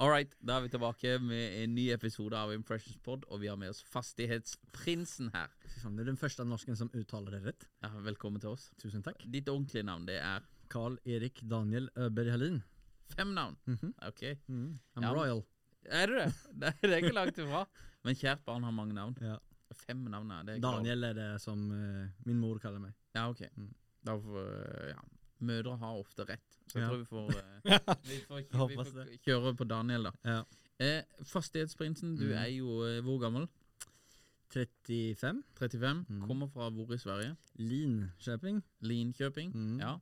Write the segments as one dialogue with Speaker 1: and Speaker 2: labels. Speaker 1: All right, da er vi tilbake med en ny episode av Impressions Pod, og vi har med oss Fastighetsprinsen her.
Speaker 2: Fy faen, Du er den første av norsken som uttaler det rett.
Speaker 1: Ja, velkommen til oss.
Speaker 2: Tusen takk.
Speaker 1: Ditt ordentlige navn, det er
Speaker 2: Carl Erik Daniel Øberg Helin.
Speaker 1: fem navn.
Speaker 2: Mhm.
Speaker 1: Ok.
Speaker 2: I'm
Speaker 1: Ja.
Speaker 2: royal.
Speaker 1: Er du det? Det er ikke langt ifra. Men kjært barn har mange navn.
Speaker 2: Ja.
Speaker 1: Fem navn er det. er klart.
Speaker 2: Daniel er det som eh, min mor kaller meg.
Speaker 1: Ja, ok. Mm. Da får, eh, ja. Mødre har ofte rett, så jeg
Speaker 2: Ja.
Speaker 1: tror vi får, eh, vi får,
Speaker 2: Jeg
Speaker 1: vi
Speaker 2: håper
Speaker 1: får
Speaker 2: det.
Speaker 1: kjøre på Daniel, da.
Speaker 2: Ja.
Speaker 1: Eh, fastighetsprinsen, du
Speaker 2: Mhm.
Speaker 1: er jo eh, hvor gammel?
Speaker 2: 35.
Speaker 1: 35.
Speaker 2: Mhm.
Speaker 1: Kommer fra hvor i Sverige?
Speaker 2: Linköping.
Speaker 1: Linköping.
Speaker 2: Mhm.
Speaker 1: Ja.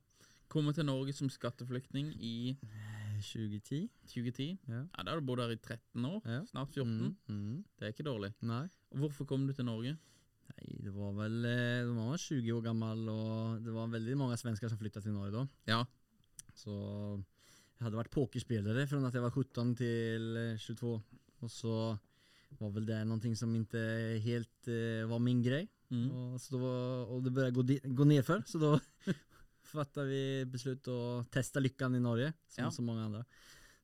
Speaker 1: Kommer til Norge som skatteflyktning i
Speaker 2: eh, 2010.
Speaker 1: 2010.
Speaker 2: Ja.
Speaker 1: Ja, Da har du bodd her i 13 år.
Speaker 2: Ja.
Speaker 1: Snart 14.
Speaker 2: Mm, mm.
Speaker 1: Det er ikke dårlig.
Speaker 2: Nei.
Speaker 1: Og Hvorfor kom du til Norge?
Speaker 2: Nei, det var vel eh, Da var man 20 år gammel, og det var veldig mange svensker som flyttet til Norge da.
Speaker 1: Ja.
Speaker 2: Så jeg hadde vært pokerspillere fra at jeg var 17 til eh, 22. Og så var vel det noe som ikke helt eh, var min grei.
Speaker 1: Mhm.
Speaker 2: Og, så da, og det begynte å gå, di- gå nedfor, så da fattet vi beslut å teste lykken i Norge, som
Speaker 1: Ja.
Speaker 2: så mange andre.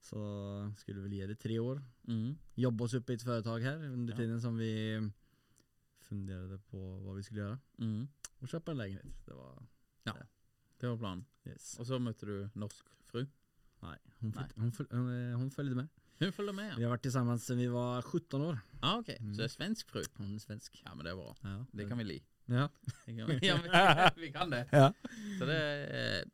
Speaker 2: Så skulle vi gi det tre år.
Speaker 1: Mhm.
Speaker 2: Jobbe oss opp i et foretak her under
Speaker 1: Ja.
Speaker 2: tiden som vi funderte på hva vi skulle gjøre.
Speaker 1: Mhm.
Speaker 2: Og kjøpe en leilighet. Det var
Speaker 1: Det var planen.
Speaker 2: yes.
Speaker 1: Og så møtte du norsk fru.
Speaker 2: Nei, hun,
Speaker 1: Nei.
Speaker 2: flytt- hun, føl- hun, eh, hun følger med.
Speaker 1: Hun følger med, ja.
Speaker 2: Vi har vært sammen siden vi var 17 år.
Speaker 1: Ah, ok.
Speaker 2: Mhm.
Speaker 1: Så det er svensk fru.
Speaker 2: Hun er svensk.
Speaker 1: Ja, men det er bra.
Speaker 2: Ja,
Speaker 1: Det kan vi like.
Speaker 2: Ja.
Speaker 1: Det kan vi- Ja, men vi kan det.
Speaker 2: Ja.
Speaker 1: Så det er- eh,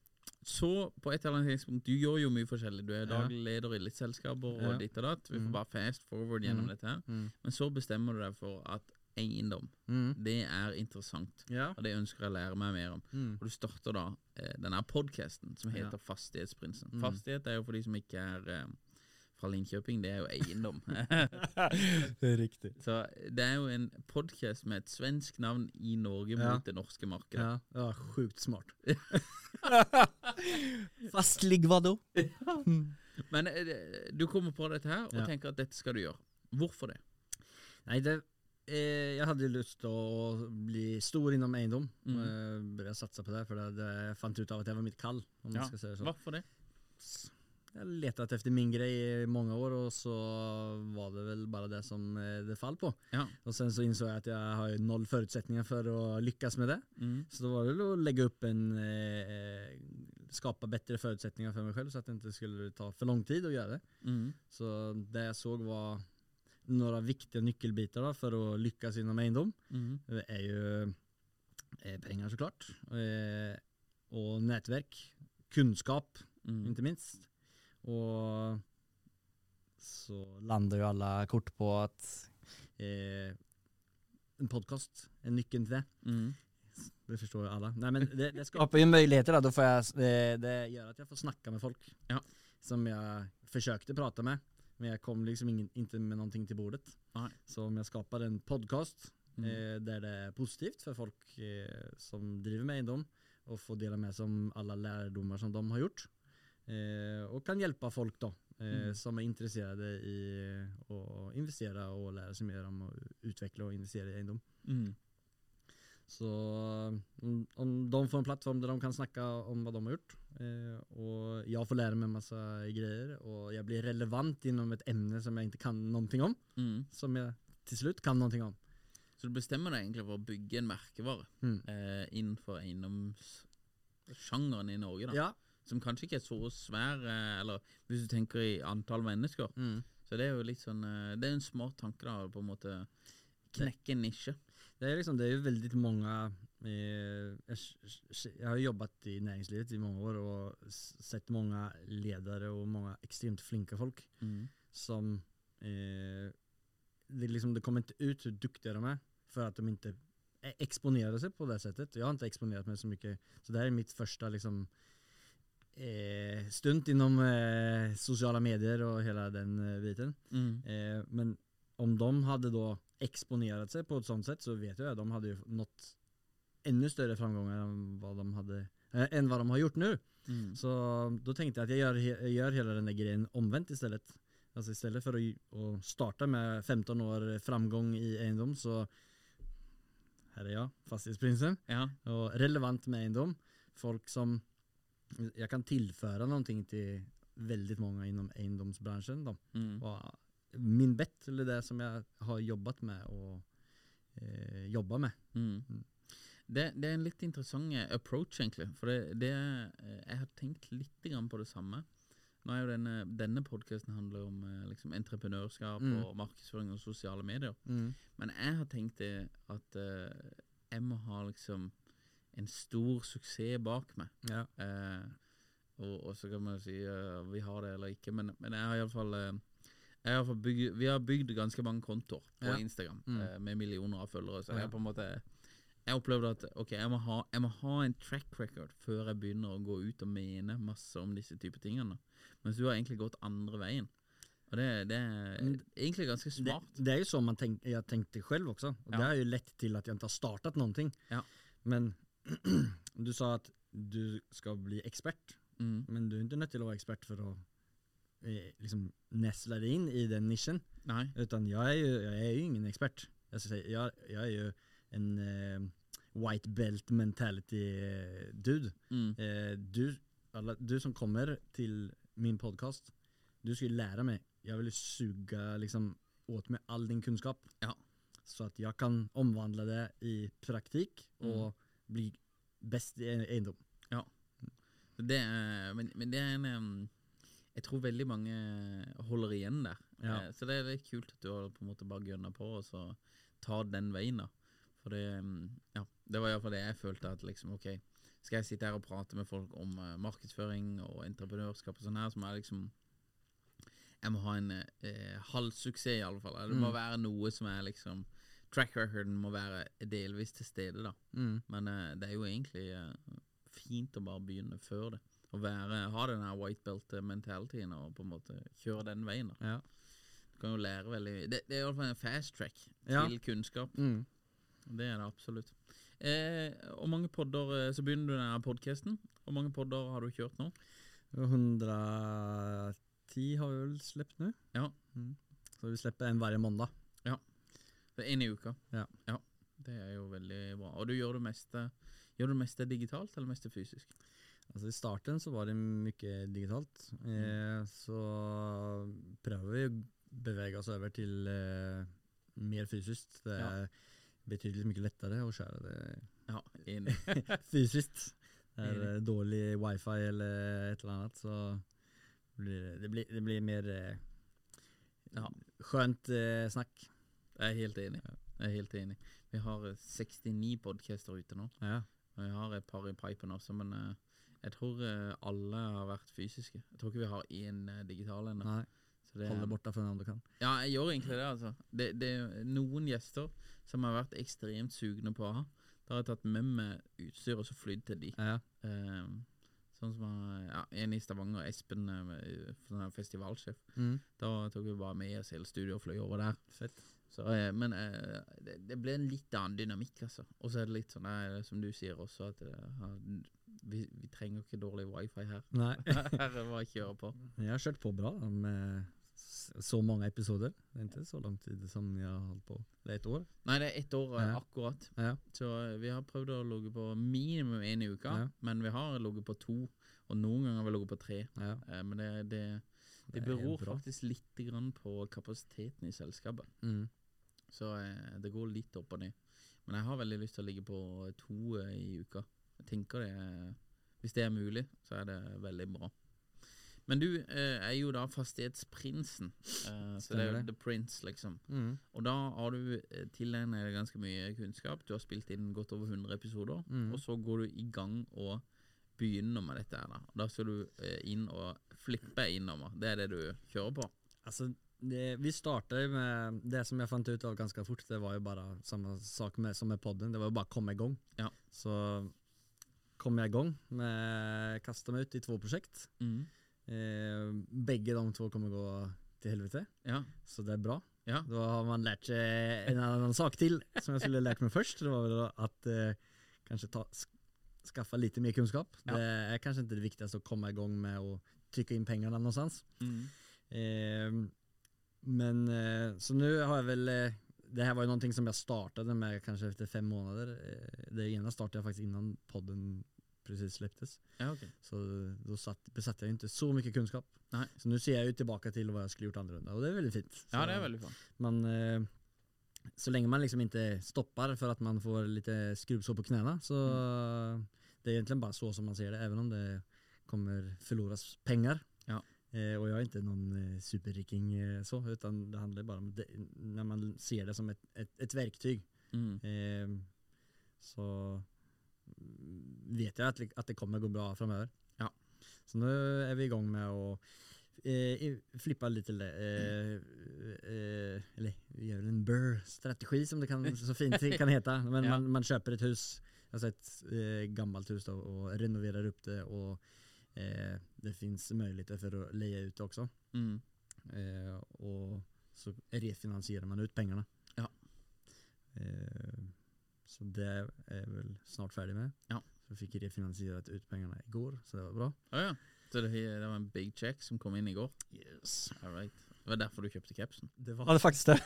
Speaker 1: så på et eller annet tidspunkt Du gjør jo mye forskjellig. Du er
Speaker 2: Ja.
Speaker 1: daglig leder i litt selskaper og
Speaker 2: Ja.
Speaker 1: ditt og datt. Vi får
Speaker 2: Mhm.
Speaker 1: bare fast forward gjennom
Speaker 2: Mhm.
Speaker 1: dette her.
Speaker 2: Mm.
Speaker 1: Men så bestemmer du deg for at eiendom,
Speaker 2: Mm.
Speaker 1: det er interessant.
Speaker 2: Ja.
Speaker 1: Og det ønsker jeg å lære meg mer om.
Speaker 2: Mm.
Speaker 1: Og du starter da eh, denne podcasten som heter
Speaker 2: Ja.
Speaker 1: Fastighetsprinsen.
Speaker 2: Mm.
Speaker 1: Fastighet er jo for de som ikke er eh, fra Linköping, det er jo eiendom.
Speaker 2: Det er riktig.
Speaker 1: Så det er jo en podcast med et svensk navn i Norge
Speaker 2: Ja.
Speaker 1: mot det norske markedet.
Speaker 2: Ja, det var sjukt smart. Fastligg hva da?
Speaker 1: Men eh, det- du kommer på dette her og
Speaker 2: Ja.
Speaker 1: tenker at dette skal du gjøre. Hvorfor det?
Speaker 2: Nei, det, eh, jeg hadde lyst til å bli stor innom eiendom.
Speaker 1: Mm.
Speaker 2: og jeg Begynne å satse på det, for det, det jeg fant ut av at det var mitt kall. Om
Speaker 1: Ja.
Speaker 2: man skal si det sånn.
Speaker 1: Hvorfor det?
Speaker 2: Jeg letet etter min greie i mange år, og så var det vel bare det som eh, det falt på.
Speaker 1: Ja.
Speaker 2: Og sen så innså jeg at jeg har jo null forutsetninger for å lykkes med det.
Speaker 1: Mm.
Speaker 2: Så det var vel å legge opp en eh, Skape bedre forutsetninger for meg selv, så at det ikke skulle ta for lang tid å gjøre det.
Speaker 1: Mm.
Speaker 2: Så det jeg så var noen viktige nøkkelbiter da, for å lykkes innom eiendom,
Speaker 1: Mm.
Speaker 2: Det er jo eh, penger, så klart, eh, og nettverk, kunnskap,
Speaker 1: Mm.
Speaker 2: ikke minst. Og så lander jo alle kort på at eh, en podkast er nøkkelen til det.
Speaker 1: Mm.
Speaker 2: Det forstår jo alle. Nei, men det, det skaper jo muligheter. Da. Da får jeg, det, det gjør at jeg får snakke med folk
Speaker 1: Ja.
Speaker 2: som jeg forsøkte å prate med, men jeg kom liksom ingen, ikke med noe til bordet.
Speaker 1: Nei.
Speaker 2: Så om jeg skaper en podkast eh, där det är positivt för folk eh, som driver med eiendom och får dela med sig om alla lärdomar som de har gjort. Eh, och kan hjälpa folk då eh, som är intresserade i eh, att investera och lära sig mer om att utveckla och investera i eiendom.
Speaker 1: Mm.
Speaker 2: Så um, om, om de får en plattform där de kan snacka om vad de har gjort eh, och jag får lära mig en massa grejer och jag blir relevant inom ett ämne som jag inte kan någonting om,
Speaker 1: Mm.
Speaker 2: som jeg til slutt kan noe om.
Speaker 1: Så du bestemmer deg egentlig for å bygge en merkevare
Speaker 2: Mm.
Speaker 1: eh, innenfor eiendomssjangeren i Norge, da.
Speaker 2: Ja.
Speaker 1: Som kanskje ikke er så svær, eh, eller hvis du tenker i antall mennesker. Så det er jo litt sånn eh, Det er en smart tanke, da, å på en måte knekke en nisje.
Speaker 2: Det, er liksom, det er jo veldig mange eh, jeg, s- s- jeg har jo jobbet i næringslivet i mange år og s- sett mange ledere og mange ekstremt flinke folk som eh, det, liksom, det kommer ikke ut hvor duktige de er, for at de ikke eh, eksponerer seg på det settet. Jeg har ikke eksponert meg så mye, så det her er mitt første liksom, eh, stunt innom eh, sosiale medier og hele den eh, biten.
Speaker 1: Mm.
Speaker 2: Eh, men om de hade då exponerat sig på ett sånt sätt så vet jag att de hade ju nått ännu större framgångar än vad de, hade, eh, än vad de har gjort nu.
Speaker 1: Mm.
Speaker 2: Så då tänkte jag att jag gör, he- jag gör hela den där grejen omvänt istället. Alltså istället för att, ju- att starta med 15 år framgång i eiendom så här är jag, fastighetsprinsen
Speaker 1: Ja.
Speaker 2: och relevant med eiendom. Folk som jag kan tillföra någonting till väldigt många inom eiendomsbranschen. Då
Speaker 1: Mm.
Speaker 2: var min bett, eller det som jeg har jobbet med og eh, jobba med.
Speaker 1: Mm. Det, det er en litt interessant eh, approach, egentlig. For det, det eh, Jeg har tenkt litt grann på det samme. Nå er jo denne, denne podkasten handler om eh, liksom, entreprenørskap
Speaker 2: Mm.
Speaker 1: og markedsføring og sosiale medier. Men jeg har tenkt det at eh, jeg må ha liksom en stor suksess bak meg.
Speaker 2: Ja.
Speaker 1: Eh, og, og så kan man jo si eh, vi har det eller ikke, men, men jeg har iallfall eh, jeg har i hvert fall bygd- vi har bygd ganske mange kontoer på
Speaker 2: Ja.
Speaker 1: Instagram
Speaker 2: Mm.
Speaker 1: eh, med millioner av følgere. Så
Speaker 2: Ja.
Speaker 1: jeg på en måte Jeg opplevde at ok, jeg må, ha, jeg må ha en track record før jeg begynner å gå ut og mene masse om disse typer tingene. Mens du har egentlig gått andre veien. Og det, det er
Speaker 2: Men
Speaker 1: egentlig ganske
Speaker 2: Det,
Speaker 1: smart.
Speaker 2: det er jo sånn man tenk, jeg tenkte selv også. Og Det
Speaker 1: Ja.
Speaker 2: har jo lett til at jeg ikke har startet noen ting.
Speaker 1: Ja.
Speaker 2: Men du sa at du skal bli ekspert,
Speaker 1: Mm.
Speaker 2: men du er ikke nødt til å være ekspert for å eh, liksom nesle deg inn i den nisjen.
Speaker 1: Nei.
Speaker 2: Utan jag är ju, jag är ju ingen expert. Jag, ska säga, jag, jag är ju en eh, white belt mentality eh, dude.
Speaker 1: Mm.
Speaker 2: Eh, du, alla, du som kommer till min podcast, du ska ju lära mig. Jag vill ju suga liksom, åt mig all din kunskap.
Speaker 1: Ja.
Speaker 2: Så att jag kan omvandla det i praktik
Speaker 1: Mm.
Speaker 2: och bli bäst i egendom.
Speaker 1: Så Det er, men, men det er en em, Jeg tror veldig mange holder igjen der.
Speaker 2: Ja.
Speaker 1: Eh, Så det er litt kult at du har på en måte bare gønna på og så tar den veien. da For det, em, mm, ja, det var iallfall det jeg følte. at liksom, ok Skal jeg sitte her og prate med folk om eh, markedsføring og entreprenørskap, og sånn her, så må jeg liksom jeg må ha en eh, halv suksess, i alle fall. Det
Speaker 2: Mm.
Speaker 1: må være noe som er liksom Track recorden må være delvis til stede, da.
Speaker 2: Mm.
Speaker 1: Men eh, det er jo egentlig eh, fint å bare begynne før det. Å være, ha den her white belt-mentaliteten og på en måte kjøre den veien. da.
Speaker 2: Ja.
Speaker 1: Du kan jo lære veldig Det, det er iallfall en fast track
Speaker 2: Ja.
Speaker 1: til kunnskap.
Speaker 2: Mm.
Speaker 1: Det er det absolutt. Eh, og mange podder, eh, Så begynner du denne podkasten. Hvor mange podder har du kjørt nå?
Speaker 2: 110 har vi väl släppt nu?
Speaker 1: Ja.
Speaker 2: Mm. Så vi släpper en varje måndag.
Speaker 1: Det er En i uka.
Speaker 2: Ja.
Speaker 1: Det er jo veldig bra. Og du gjør det meste, gjør det meste digitalt eller meste fysisk?
Speaker 2: Alltså Altså, I starten så var det mycket digitalt.
Speaker 1: Mm.
Speaker 2: Eh, så prøver vi å bevege oss over til eh, mer fysiskt. Det
Speaker 1: Ja.
Speaker 2: er betydelig mye lettere å skjære det
Speaker 1: Ja, enig.
Speaker 2: fysiskt. Det er
Speaker 1: Enig.
Speaker 2: eh, dårlig wifi eller et eller annet, så blir det, det, blir, det blir mer eh,
Speaker 1: Ja.
Speaker 2: skjønt eh, snakk.
Speaker 1: Jeg er helt enig. Jeg er helt enig. Vi har eh, 69 podcaster ute nå.
Speaker 2: Ja.
Speaker 1: Og Jeg har et par i pipen også, men eh, jeg tror eh, alle har vært fysiske. Jeg tror ikke vi har én eh, digital ennå.
Speaker 2: Nei,
Speaker 1: Så det-
Speaker 2: hold deg borte fra den andre kanten.
Speaker 1: Ja, jeg gjør egentlig det, altså. Det, det er noen gjester som har vært ekstremt sugne på å ha. Da har jeg tatt med meg utstyr og så flydd til de.
Speaker 2: Ja.
Speaker 1: Eh, sånn som eh, ja, en i Stavanger, Espen, eh, sånn her festivalsjef.
Speaker 2: Mm.
Speaker 1: Da tok vi bare med oss hele studioet og fløy over der.
Speaker 2: Fett.
Speaker 1: Så, eh, men eh, det, det ble en litt annen dynamikk, altså. Og så er det litt sånn, eh, som du sier også, at eh, han- vi, vi trenger ikke dårlig wifi her.
Speaker 2: Nei.
Speaker 1: Her er det bare å kjøre på.
Speaker 2: Jeg har kjørt på bra da, med s- så mange episoder. Det er ikke så lang tid som jeg har holdt på. Det er et år.
Speaker 1: Nei, det er ett år eh,
Speaker 2: Ja.
Speaker 1: akkurat.
Speaker 2: Ja.
Speaker 1: Så eh, vi har prøvd å ligge på minimum én i uka,
Speaker 2: Ja.
Speaker 1: men vi har ligget på to. Og noen ganger har vi ligget på tre.
Speaker 2: ja.
Speaker 1: Eh, Men det, det, det
Speaker 2: er
Speaker 1: beror
Speaker 2: bra.
Speaker 1: faktisk litt grann på kapasiteten i selskapet.
Speaker 2: Mm.
Speaker 1: Så eh, det går litt opp og ned. Men jeg har veldig lyst til å ligge på to eh, i uka. Jeg tenker det er- Hvis det er mulig, så er det veldig bra. Men du eh, er jo da fastighetsprinsen. Eh, så det er
Speaker 2: Stemmer
Speaker 1: jo
Speaker 2: det.
Speaker 1: The Prince, liksom.
Speaker 2: Mm.
Speaker 1: Og da har du eh, tilegnet deg ganske mye kunnskap. Du har spilt inn godt over 100 episoder.
Speaker 2: Mm.
Speaker 1: Og så går du i gang og begynner med dette her. Da Da skal du eh, inn og flippe innover. Det er det du kjører på.
Speaker 2: Altså, det, vi starter med Det som jeg fant ut av ganske fort, det var jo bare samme sak med, som med podden. Det var jo bare å komme i gang.
Speaker 1: Ja.
Speaker 2: Så kom jeg i gang. med- Kastet meg ut i to prosjekt.
Speaker 1: Mm.
Speaker 2: Eh, begge de to kommer gå til helvete,
Speaker 1: Ja.
Speaker 2: så det er bra.
Speaker 1: Ja.
Speaker 2: Da har man lært seg en annen sak til, som jeg skulle lært meg først. Det var vel at eh, kanskje ta, sk- skaffe litt mer kunnskap.
Speaker 1: Ja.
Speaker 2: Det er kanskje ikke det viktigste å komme i gang med å trykke inn pengene noenstans.
Speaker 1: Mm.
Speaker 2: Eh, men eh, Så nå har jeg vel eh, Det her var jo noe som jeg startet med kanskje etter fem måneder. Eh, Det ene startet jeg faktisk innan podden precis släpptes.
Speaker 1: Ja, ok.
Speaker 2: Så da satt, besatte jeg ikke så mye kunnskap.
Speaker 1: Nei.
Speaker 2: Så nå ser jeg jo tilbake til hva jeg skulle gjort annerledes, og det er veldig fint. Så,
Speaker 1: Ja, det er veldig bra.
Speaker 2: man, eh, så lenge man liksom ikke stopper for at man får litt eh, skrubbsår på knærne, så
Speaker 1: Mm.
Speaker 2: det er egentlig bare så som man ser det, even om det kommer förloras penger.
Speaker 1: Ja.
Speaker 2: Eh, og jeg er ikke noen eh, superriking eh, så, utan det handler bare om det, når man ser det som et, et, et verktyg.
Speaker 1: Mm.
Speaker 2: Eh, så mm, vet jeg at, lik- at det kommer gå bra framover.
Speaker 1: Ja.
Speaker 2: Så nå er vi i gang med å eh, i- flippa litt til det. Eh, eh, eller vi gjør en burr-strategi, som det kan, så fint det kan hete. Men
Speaker 1: Ja.
Speaker 2: man, man kjøper et hus, altså et eh, gammelt hus, da, og renoverer opp det. Og eh, det fins muligheter for å leie ut det også.
Speaker 1: Mm.
Speaker 2: Eh, og så refinansierer man ut pengene.
Speaker 1: Ja.
Speaker 2: Eh, så det er jeg vel snart ferdig med.
Speaker 1: Ja.
Speaker 2: Så fikk jeg refinansiert ut pengene i går, så det var bra.
Speaker 1: Å ja. Så det, det var en big check som kom inn i går? All right. Det var derfor du kjøpte capsen?
Speaker 2: Det var,
Speaker 3: Ja, det er faktisk det.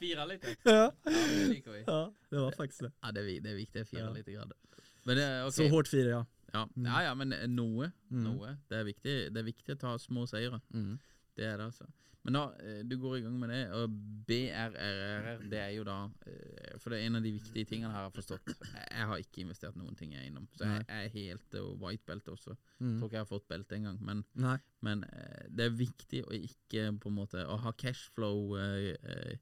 Speaker 1: Fire litt, ja.
Speaker 3: ja.
Speaker 1: Det liker vi.
Speaker 3: ja.
Speaker 2: det var faktisk det.
Speaker 1: Ja, det er, vi- det er viktig. Fire
Speaker 2: Ja.
Speaker 1: lite grader. Men det, er ok.
Speaker 2: Så hårdt fire, ja.
Speaker 1: ja. ja ja, men eh, noe.
Speaker 2: Mm.
Speaker 1: Noe. Det er viktig, det er viktig å ta små seire.
Speaker 2: Mm.
Speaker 1: Det er det, altså. Men da, eh, du går i gang med det, og BRRR, det er jo da eh, For det er en av de viktige tingene her, har jeg forstått. Jeg jeg har ikke investert noen ting jeg er innom. Så jeg, jeg er helt eh, white belt også.
Speaker 2: Mm.
Speaker 1: Tror ikke jeg har fått belte engang. Men,
Speaker 2: Nei.
Speaker 1: men eh, det er viktig å ikke på en måte Å ha cashflow eh, eh,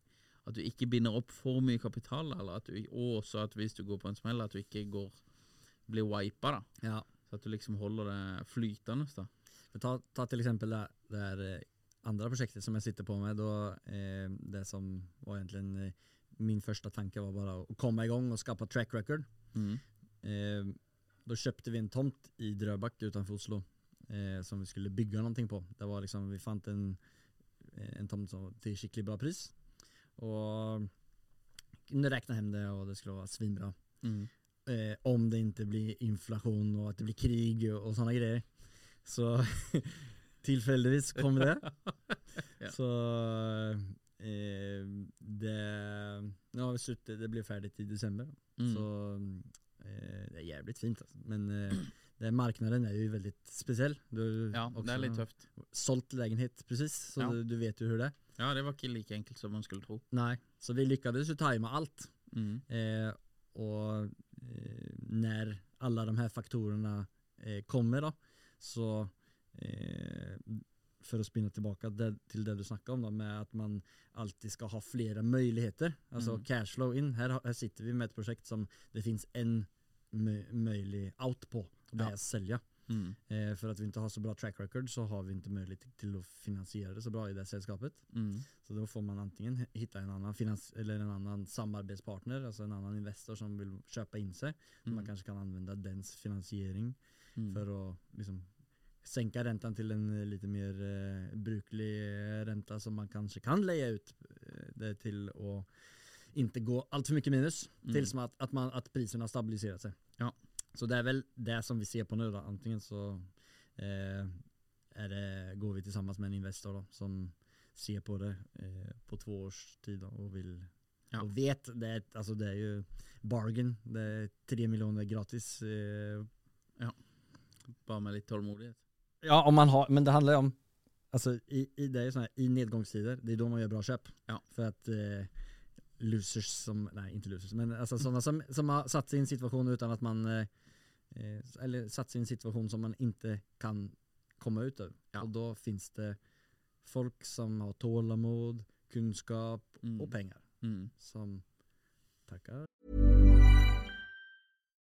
Speaker 1: At du ikke binder opp for mye kapital, eller at du, og også at hvis du går på en smell, at du ikke går blir wipa, da.
Speaker 2: Ja.
Speaker 1: Så at du liksom holder det flytende. da.
Speaker 2: Men ta, ta til eksempel det, det her eh, andre prosjektet som jeg sitter på med. Da, eh, det som var egentlig eh, min første tanke, var bare å komme i gang og skape track record. Eh, da kjøpte vi en tomt i Drøbak utenfor Oslo eh, som vi skulle bygge noe på. Det var liksom, vi fant en, eh, en tomt som, til skikkelig bra pris. Og kunne regne hjem det, og det skulle være svinbra.
Speaker 1: Mm.
Speaker 2: Eh, om det ikke blir inflasjon og at det blir krig og, og sånne greier. Så tilfeldigvis kom det.
Speaker 1: Ja.
Speaker 2: Så eh, det Nå har vi suttet, det blir ferdig i desember.
Speaker 1: Mm.
Speaker 2: Så eh, det er jævlig fint, altså. Men eh, det, marknaden er jo veldig spesiell. Du har
Speaker 1: ja, det
Speaker 2: også
Speaker 1: er litt tøft.
Speaker 2: solgt lägenhet precis, så
Speaker 1: Ja.
Speaker 2: du, du vet jo hvordan det er.
Speaker 1: Ja, det var ikke like enkelt som man skulle tro.
Speaker 2: Nei, så vi lyktes jo time alt.
Speaker 1: Mm.
Speaker 2: Eh, og eh, når alle de her faktorene eh, kommer, da, så eh, For å spinne tilbake det, til det du snakka om, da, med at man alltid skal ha flere muligheter. Altså
Speaker 1: Mm.
Speaker 2: cashflow in. Her, har- her sitter vi med et prosjekt som det fins én mulig out på, og det
Speaker 1: Ja.
Speaker 2: er å selge.
Speaker 1: Mm.
Speaker 2: Eh, for at vi ikke har så bra track record, så har vi ikke mulighet til å finansiere det så bra i det selskapet.
Speaker 1: Mm.
Speaker 2: Så då får man antingen h- hitta en annan, finans eller en annan samarbetspartner, alltså en annan investor som vill köpa in sig. Man kanske kan använda dens finansiering
Speaker 1: Mm.
Speaker 2: för att liksom, sänka räntan till en eh, lite mer eh, bruklig eh, ränta som man kanske kan lägga ut eh, det till och inte gå allt för mycket minus
Speaker 1: Mm.
Speaker 2: tills man, att, man, att priserna har stabiliserat sig.
Speaker 1: Ja.
Speaker 2: Så det är väl det som vi ser på nu då. Antingen så eh, är det, går vi tillsammans med en investor då, som ser på det eh, på två års tid då, och vill
Speaker 1: Ja.
Speaker 2: och vet. Det är, ett- alltså det är ju bargain. Det är tre miljoner gratis eh,
Speaker 1: Bare med litt tålmodighet.
Speaker 2: Ja, om man har, men det handlar ju om, alltså i, i, det är ju såna här, i nedgångstider, det är då man gör bra köp.
Speaker 1: Ja.
Speaker 2: För att eh, losers som, nej inte losers, men alltså sådana som, som har satt sig i en situation utan att man, eh, eh, eller satt sig i en situation som man inte kan komma ut ur.
Speaker 1: Ja.
Speaker 2: Och då finns det folk som har tålamod, kunskap
Speaker 1: Mm.
Speaker 2: och pengar
Speaker 1: Mm.
Speaker 2: som tackar.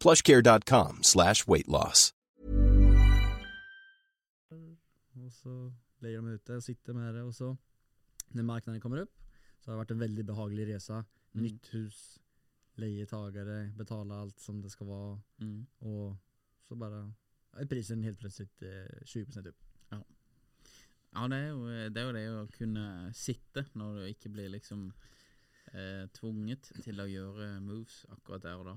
Speaker 4: plushcare.com slash weight loss.
Speaker 2: Och så lägger de ut det och sitter med det och så när marknaden kommer upp så har det varit en väldigt behaglig resa.
Speaker 1: Mm.
Speaker 2: Nytt hus, lejetagare, betala allt som det ska vara
Speaker 1: Mm.
Speaker 2: och så bara är prisen helt plötsligt eh, 20% upp.
Speaker 1: Ja, det er, jo, det er jo det å kunne sitte når du ikke blir liksom eh, tvunget til å gjøre moves akkurat der og da.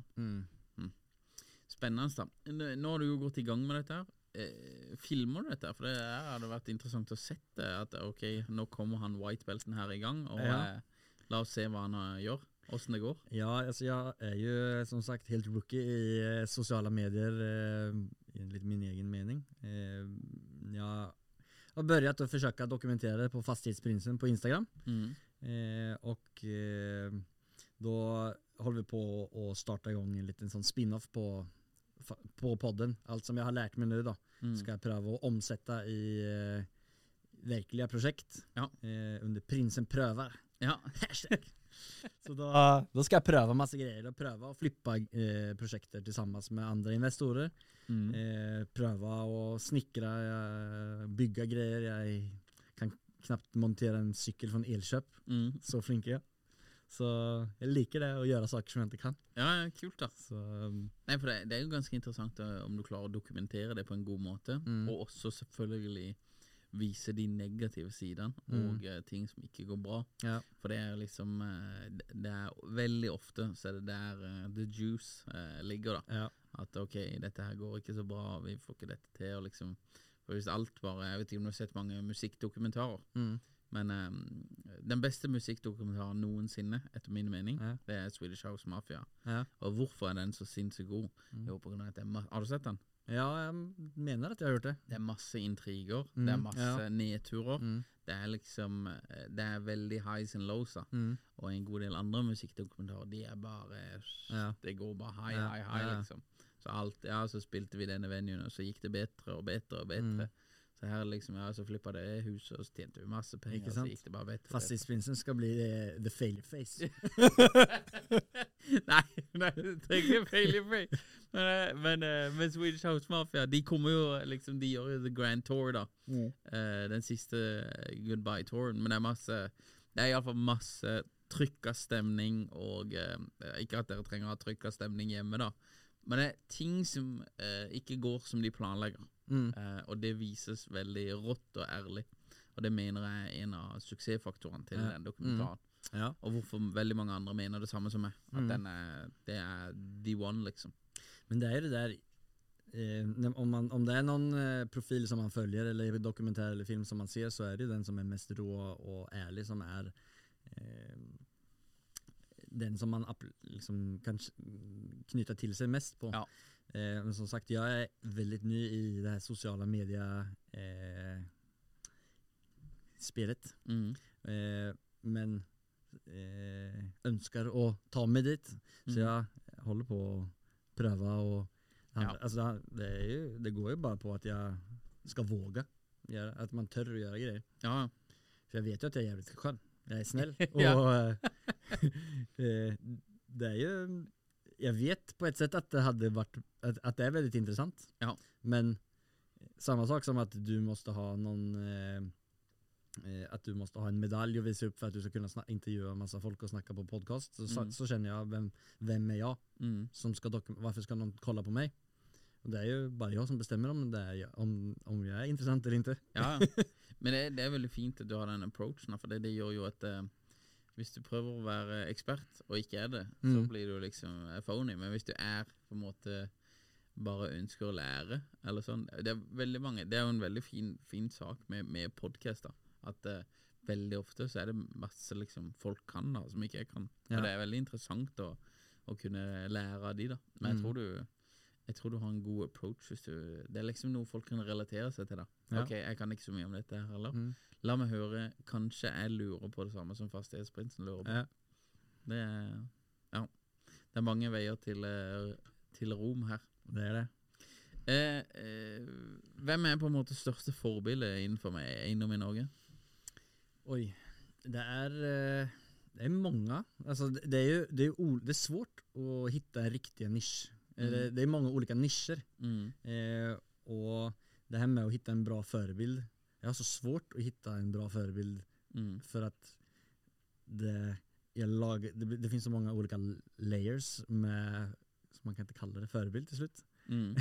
Speaker 1: Spennende, da. Nå- Nå har du jo gått i gang med dette her. Eh, filmer du dette? her? For det her hadde vært interessant å sette at ok, nå kommer han whitebelten her i gang, og
Speaker 2: Ja.
Speaker 1: eh, la oss se hva han eh, gjør. Åssen det går.
Speaker 2: Ja, altså, alltså jag är ju som sagt helt rookie i eh, sociala medier eh, enligt min egen mening. Eh, jag har börjat att försöka dokumentera det på Fastighetsprinsen på Instagram.
Speaker 1: Mm.
Speaker 2: Eh, och eh, då håller vi på att starta igång en liten sån spin-off på, fa- på podden. Allt som jag har lärt mig nu då
Speaker 1: Mm.
Speaker 2: ska jag pröva att omsätta i eh, verkliga projekt
Speaker 1: Ja.
Speaker 2: eh, under Prinsen prövar.
Speaker 1: Ja.
Speaker 2: Så då, då ska jag pröva massa grejer och pröva att flippa eh, projektet tillsammans med andra investorer.
Speaker 1: Mm.
Speaker 2: Eh, pröva och snickra, eh, bygga grejer. Jag kan knappt montera en cykel från Elköp.
Speaker 1: Mm.
Speaker 2: Så flink är jag. Så jag liker det att göra saker som jag inte kan.
Speaker 1: Ja, ja, kult, da.
Speaker 2: Så, um,
Speaker 1: Nei, for det, det er jo ganske interessant eh, om du klarer å dokumentere det på en god måte,
Speaker 2: Mm.
Speaker 1: og også selvfølgelig vise de negative sidene og eh, ting som ikke går bra.
Speaker 2: Mm. ja.
Speaker 1: For det er liksom eh, det- Det er veldig ofte så er det der eh, the juice eh, ligger, da.
Speaker 2: Ja.
Speaker 1: At ok, dette her går ikke så bra, vi får ikke dette til, og liksom For hvis alt bare Jeg vet ikke om du har sett mange musikkdokumentarer,
Speaker 2: Mm.
Speaker 1: men eh, den beste musikkdokumentaren noensinne, etter min mening,
Speaker 2: Ja.
Speaker 1: det er Swedish House Mafia.
Speaker 2: Ja. Mm.
Speaker 1: Og hvorfor er den så sinnssykt god? Jo, på grunn av at det er ma- Har du sett den?
Speaker 2: ja, jag menar att jag har gjort det.
Speaker 1: Det er masse intriger,
Speaker 2: Mm,
Speaker 1: det er masse
Speaker 2: ja.
Speaker 1: nedturer.
Speaker 2: Mm.
Speaker 1: Det er liksom eh, Det er veldig highs and lows. da.
Speaker 2: Mm.
Speaker 1: Og en god del andre musikkdokumentarer, de er bare
Speaker 2: Ja.
Speaker 1: Det går bare high,
Speaker 2: Ja,
Speaker 1: high, high,
Speaker 2: ja.
Speaker 1: liksom. Så alt Ja, så spilte vi denne venuen, og så gikk det bedre og bedre og bedre.
Speaker 2: Mm.
Speaker 1: Så her liksom, ja, så flippa det huset, och så tjente vi masse penger,
Speaker 2: Ikke
Speaker 1: og så
Speaker 2: sant?
Speaker 1: gikk det bare bedre. og bedre.
Speaker 2: Fastighetsprinsen ska bli eh, the failure face.
Speaker 1: nei, nei, det trenger ikke failure free. Men, eh, men, eh, men Swedish House Mafia de kommer jo eh, liksom, de gjør jo The Grand Tour, da.
Speaker 2: Mm.
Speaker 1: Eh, den siste eh, Goodbye Touren. Men det er masse Det er iallfall masse trykka stemning, og eh, ikke at dere trenger å ha trykka stemning hjemme, da. Men det er ting som eh, ikke går som de planlegger.
Speaker 2: Mm.
Speaker 1: Eh, og det vises veldig rått og ærlig. Og det mener jeg er en av suksessfaktorene til
Speaker 2: Ja. Mm.
Speaker 1: den dokumentaren.
Speaker 2: Ja.
Speaker 1: Og hvorfor veldig mange andre
Speaker 2: Mm.
Speaker 1: mener det samme som meg. At den er, det er the one, liksom.
Speaker 2: Men det är ju det där Eh, om, man, om det är någon eh, profil som man följer eller dokumentär eller film som man ser så är det ju den som är mest rå och ärlig som är eh, den som man app- liksom kan k- knyta till sig mest på.
Speaker 1: Ja.
Speaker 2: Eh, men som sagt, jag är väldigt ny i det här sociala media eh, spelet.
Speaker 1: Mm.
Speaker 2: Eh, men eh, önskar att ta mig dit. Så
Speaker 1: Mm.
Speaker 2: jag håller på att pröva och han,
Speaker 1: Ja.
Speaker 2: alltså, det- altså, det, är ju, det går ju bara på att jag ska våga. Göra, att man törr att göra grejer.
Speaker 1: Ja,
Speaker 2: För jag vet ju att jag är jävligt skön. Jag är snäll. Och,
Speaker 1: Ja.
Speaker 2: eh, eh, det är ju, jag vet på ett sätt att det hade varit, att, att det är väldigt intressant.
Speaker 1: Ja.
Speaker 2: Men samma sak som att du måste ha någon eh, eh, att du måste ha en medalj att visa upp för att du ska kunna sna- intervjua en massa folk och snacka på podcast. Så,
Speaker 1: Mm.
Speaker 2: så, så känner jag, vem, vem är jag?
Speaker 1: mm.
Speaker 2: som ska dokum- varför ska någon kolla på mig? Och det är ju bara jag som bestämmer om, det är jag, om, om jag är intressant eller inte.
Speaker 1: ja. ja. Men det, det er veldig fint at du har den approachen, for det, det gjør jo at eh, hvis du prøver å være ekspert og ikke er det, så
Speaker 2: Mm.
Speaker 1: blir du liksom eh, phony. Men hvis du er på en måte bare ønsker å lære, eller sånn Det er veldig mange Det er jo en veldig fin, fin sak med, med podcaster. At eh, veldig ofte så er det masse liksom folk kan da, som ikke jeg kan.
Speaker 2: Ja.
Speaker 1: Og det er veldig interessant å, å kunne lære av de, da. Men jeg
Speaker 2: Mm.
Speaker 1: tror du jeg tror du har en god approach. Hvis du, det er liksom noe folk kan relatere seg til. da
Speaker 2: Ja. Mm.
Speaker 1: Ok, jeg kan ikke så mye om dette her heller. La meg høre. Kanskje jeg lurer på det samme som fastighetsprinsen lurer på.
Speaker 2: Ja.
Speaker 1: Det, er, ja. det er mange veier til, eh, til Rom her.
Speaker 2: Det är det.
Speaker 1: Eh, eh, hvem er på en måte største forbilde innenfor meg eiendom i Norge?
Speaker 2: Oj, det är, eh, det är många. Alltså det, det är ju det är, ju ol- det är svårt att hitta en riktig nisch.
Speaker 1: Mm.
Speaker 2: Eller, det är många olika nischer.
Speaker 1: Mm.
Speaker 2: Eh, och det här med att hitta en bra förebild. Jag har så svårt att hitta en bra förebild
Speaker 1: Mm.
Speaker 2: För att det, jag lag, det, det finns så många olika l- layers med, så man kan inte kalla det förebild till slut.
Speaker 1: Mm.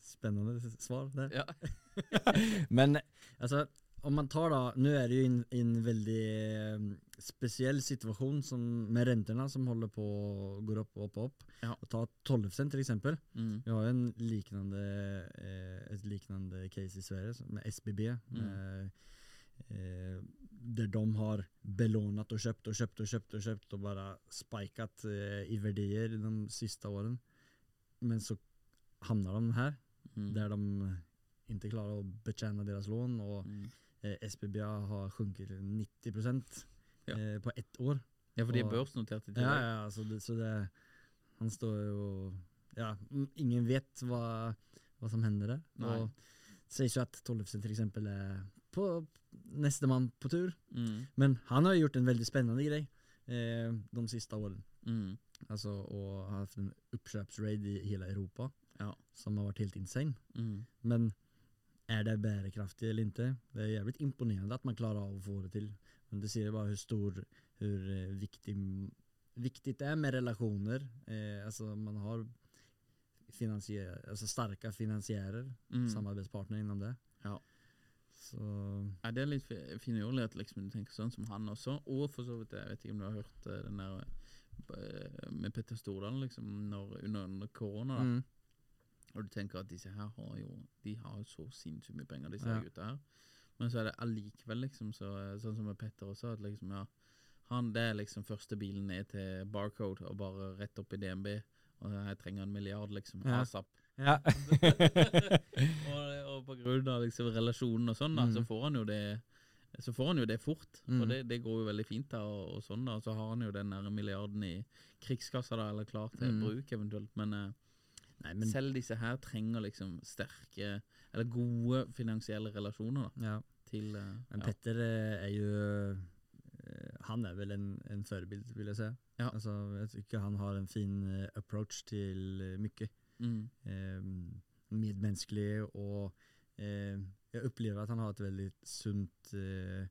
Speaker 2: Spännande s- svar där.
Speaker 1: Ja.
Speaker 2: Men alltså, om man tar då, nu är det ju en, en väldigt eh, speciell situation som, med räntorna som håller på och går upp och upp och upp.
Speaker 1: Ja.
Speaker 2: Och ta 12% till exempel.
Speaker 1: Mm.
Speaker 2: Vi har ju en liknande, eh, ett liknande case i Sverige som- med SBB.
Speaker 1: Mm.
Speaker 2: Med, eh, där de har belånat och köpt och köpt och köpt och köpt och bara spikat eh, i värdier de sista åren. Men så hamnar de här
Speaker 1: Mm.
Speaker 2: där de inte klarar att betjäna deras lån och
Speaker 1: Mm.
Speaker 2: eh, SBB har sjunkit till 90%
Speaker 1: Ja.
Speaker 2: eh, på ett år.
Speaker 1: Ja, for de er
Speaker 2: Og-
Speaker 1: børsnotert i
Speaker 2: Ja,
Speaker 1: tillegg.
Speaker 2: ja, så det, så det Han står jo og Ja, mm, ingen vet hva, hva som hender der.
Speaker 1: Nei.
Speaker 2: Og det sies jo at Tollefsen til eksempel er på nestemann på tur.
Speaker 1: Mm.
Speaker 2: Men han har jo gjort en veldig spennende grej eh, de siste årene.
Speaker 1: Mm.
Speaker 2: Alltså, og har hatt en oppkjøpsraid i hele Europa
Speaker 1: Ja.
Speaker 2: som har vært helt insane.
Speaker 1: Mm.
Speaker 2: Men er det bærekraftig eller ikke? Det er jævlig imponerende at man klarer av å få det til. Men det sier bare hvor stor, hvor eh, viktig, viktig det er med relasjoner. Eh, altså man har finansier, altså sterke finansierer,
Speaker 1: Mm.
Speaker 2: samarbeidspartnere innom det.
Speaker 1: Ja.
Speaker 2: Så
Speaker 1: Ja, det er litt fi- finurlig at liksom, du tenker sånn som han også. Og for så vidt, jeg vet ikke om du har hørt eh, den der eh, med Petter Stordalen liksom, når, under, under korona. da.
Speaker 2: mm,
Speaker 1: Og du tenker at disse her har jo De har jo så sinnssykt mye penger, disse
Speaker 2: Ja.
Speaker 1: gutta her. Men så er det allikevel liksom så, sånn som med Petter også, at liksom ja Han det er liksom første bilen ned til Barcode og bare rett opp i DNB. Og jeg trenger en milliard, liksom.
Speaker 2: Ja.
Speaker 1: ASAP.
Speaker 2: ja.
Speaker 1: og, og på grunn av liksom relasjonen og sånn, da, så
Speaker 2: Mm.
Speaker 1: får han jo det så får han jo det fort, og
Speaker 2: Mm.
Speaker 1: det, det går jo veldig fint. da, og, og sånn da, og Så har han jo den der milliarden i krigskassa, da, eller klar til
Speaker 2: Mm.
Speaker 1: bruk eventuelt. Men, eh,
Speaker 2: Nei, men
Speaker 1: selv disse her trenger liksom sterke, eller gode finansielle relasjoner da,
Speaker 2: ja.
Speaker 1: til eh,
Speaker 2: Men
Speaker 1: ja.
Speaker 2: Petter eh, er jo eh, Han er vel en, en forbilde, vil jeg si.
Speaker 1: Ja.
Speaker 2: Altså, jeg syns han har en fin eh, approach til eh, mye.
Speaker 1: Mm,
Speaker 2: Eh, medmenneskelig, og eh, jeg opplever at han har et veldig sunt eh,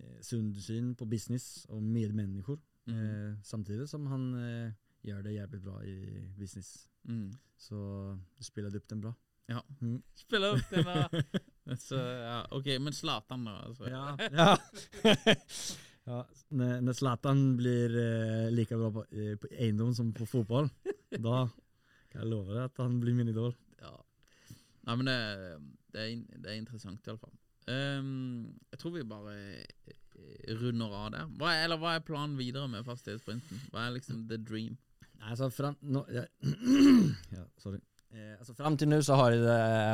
Speaker 2: eh, Sund syn på business og medmennesker,
Speaker 1: mm,
Speaker 2: eh, samtidig som han eh, gjør det jævlig bra i business.
Speaker 1: mm.
Speaker 2: Så du spiller opp den bra.
Speaker 1: Ja.
Speaker 2: Mm.
Speaker 1: Spiller opp den der. Så, ja, ok, men Zlatan, da. Altså.
Speaker 2: Ja. ja. När när Zlatan blir eh, lika bra på, eh, på eiendom som på fotboll, då Jeg lover deg at han blir min idol.
Speaker 1: Ja. Nei, men det, det, er, in- det er interessant, iallfall. Um, jeg tror vi bare eh, runder av der. Hva er, eller hva er planen videre med fastighetsprinten? Hva er liksom the dream?
Speaker 2: Nei, altså fram nå, ja, ja, sorry. Eh, altså fram til nå så har det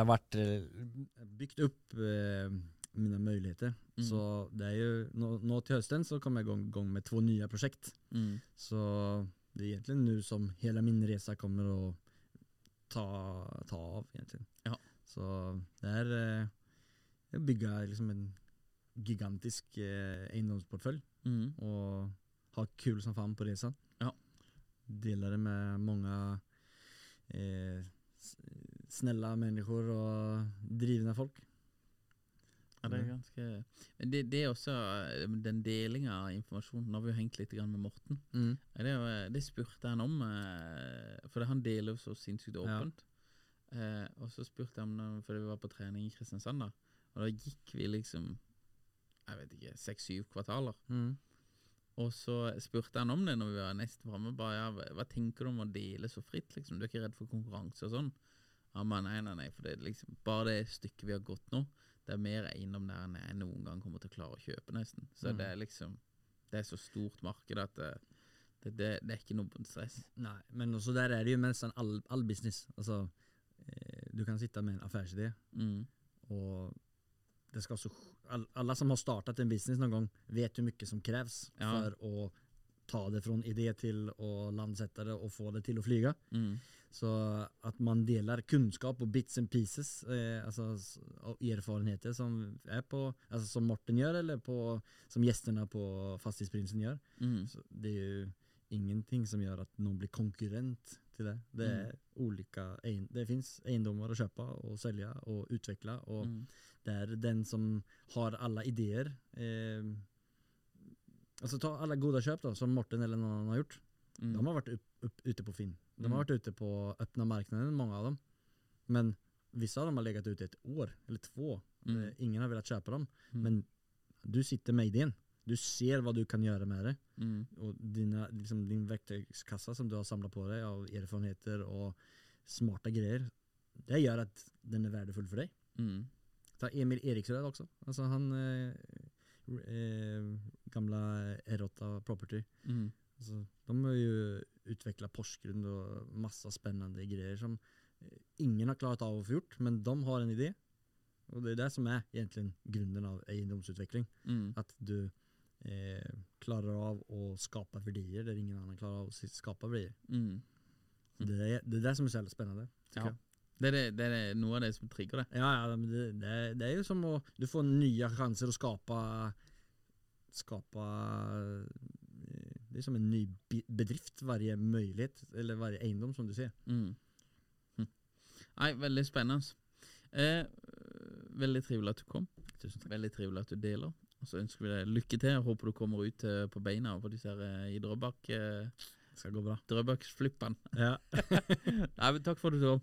Speaker 2: vært eh, bygd opp eh, mine muligheter.
Speaker 1: Mm.
Speaker 2: Så det er jo nå, nå til høsten så kommer jeg i gang, gang med to nye prosjekt.
Speaker 1: Mm.
Speaker 2: Så det er egentlig nå som hele min reise kommer å ta, ta av, egentlig.
Speaker 1: Ja.
Speaker 2: Så det er eh, å bygge liksom en gigantisk eh, eiendomsportfølj
Speaker 1: Mm.
Speaker 2: og ha kul som faen på reisen.
Speaker 1: Ja.
Speaker 2: Dela det med mange eh, s- snälla människor och drivna folk.
Speaker 1: Ja, det er ganske Mm. Men det, det er også eh, den delinga av informasjon. Nå har vi jo hengt litt grann med Morten. Ja, Det, er jo- eh, det spurte han om, eh, for det- han deler jo så sinnssykt åpent. Eh, og så spurte han om det fordi vi var på trening i Kristiansand, da. Og da gikk vi liksom jeg vet ikke, seks-syv kvartaler.
Speaker 2: Mm.
Speaker 1: Og så spurte han om det når vi var nesten framme. Bare, ja, hva- hva tenker du om å dele så fritt? liksom? Du er ikke redd for konkurranse og sånn? Han bare nei, nei, nei, for det er liksom bare det stykket vi har gått nå, det er mer eiendom der enn jeg noen gang kommer til å klare å kjøpe, nesten. Så
Speaker 2: Mm.
Speaker 1: det er liksom Det er så stort marked at det, det, det, det er ikke noe stress.
Speaker 2: Nej, men och så där är det ju med nästan all, all business. Alltså, eh, du kan sitta med en affärsidé
Speaker 1: Mm.
Speaker 2: och det ska så, all, alla som har startat en business någon gång vet hur mycket som krävs
Speaker 1: Ja.
Speaker 2: för att ta det från idé till och landsätta det och få det till att flyga.
Speaker 1: Mm.
Speaker 2: Så at man deler kunnskap og bits and pieces eh, altså, s- og erfarenheter som, er på, altså, som Morten gjør, eller på, som gjestene på Fastighetsprinsen gjør.
Speaker 1: Mm.
Speaker 2: Så det er jo ingenting som gjør at noen blir konkurrent til det. Det, er
Speaker 1: Mm.
Speaker 2: olika, ein- det finnes eiendommer å kjøpe og selge og utvikle, og
Speaker 1: Mm.
Speaker 2: det er den som har alle ideer eh, Altså ta alle gode kjøp da, som Morten eller noen annen har gjort.
Speaker 1: Mm.
Speaker 2: De har vært upp, upp, ute på Finn. De har
Speaker 1: Mm.
Speaker 2: vært ute på öppna marknaden, många av dem. Men vissa av dem har legat ute ett år eller två.
Speaker 1: Mm.
Speaker 2: Eh, Ingen har velat köpa dem.
Speaker 1: Mm.
Speaker 2: Men du sitter med idén. Du ser vad du kan göra med det.
Speaker 1: Mm.
Speaker 2: Och dina, liksom, din verktygskassa som du har samlat på dig av erfarenheter och smarta grejer. Det gör att den är värdefull för dig.
Speaker 1: Mm.
Speaker 2: Ta Emil Eriksröd också. Alltså han eh, eh, gamla Erotta Property.
Speaker 1: Mm.
Speaker 2: Altså, de har jo utvikla Porsgrunn og masse spennende greier som eh, ingen har klart av å få gjort, men de har en idé. Og det er det som er egentlig grunnen av eiendomsutvikling.
Speaker 1: Mm.
Speaker 2: At du eh, klarer av å skape verdier der ingen annen klarer av å si- skape verdier.
Speaker 1: Mm.
Speaker 2: Så Det er det, er det som er så jævlig spennende. tycker
Speaker 1: Ja.
Speaker 2: jag.
Speaker 1: Det, er det, det er det, noe av det som trigger det.
Speaker 2: Ja, ja, men det, det, er- det er jo som å Du får nye sjanser å skape Skape eh, Det er som en ny bi- bedrift. Hver mulighet, eller hver eiendom, som du sier.
Speaker 1: Mm. Hm. Nei, veldig spennende. Eh, veldig trivelig at du kom. Tusen takk. Veldig trivelig at du deler. Og så ønsker vi deg lykke til. Jeg håper du kommer ut eh, på beina på disse her eh, i Drøbak. Eh,
Speaker 2: skal gå bra.
Speaker 1: Drøbak-flippene.
Speaker 2: Ja,
Speaker 1: Nei, men takk for at du kom.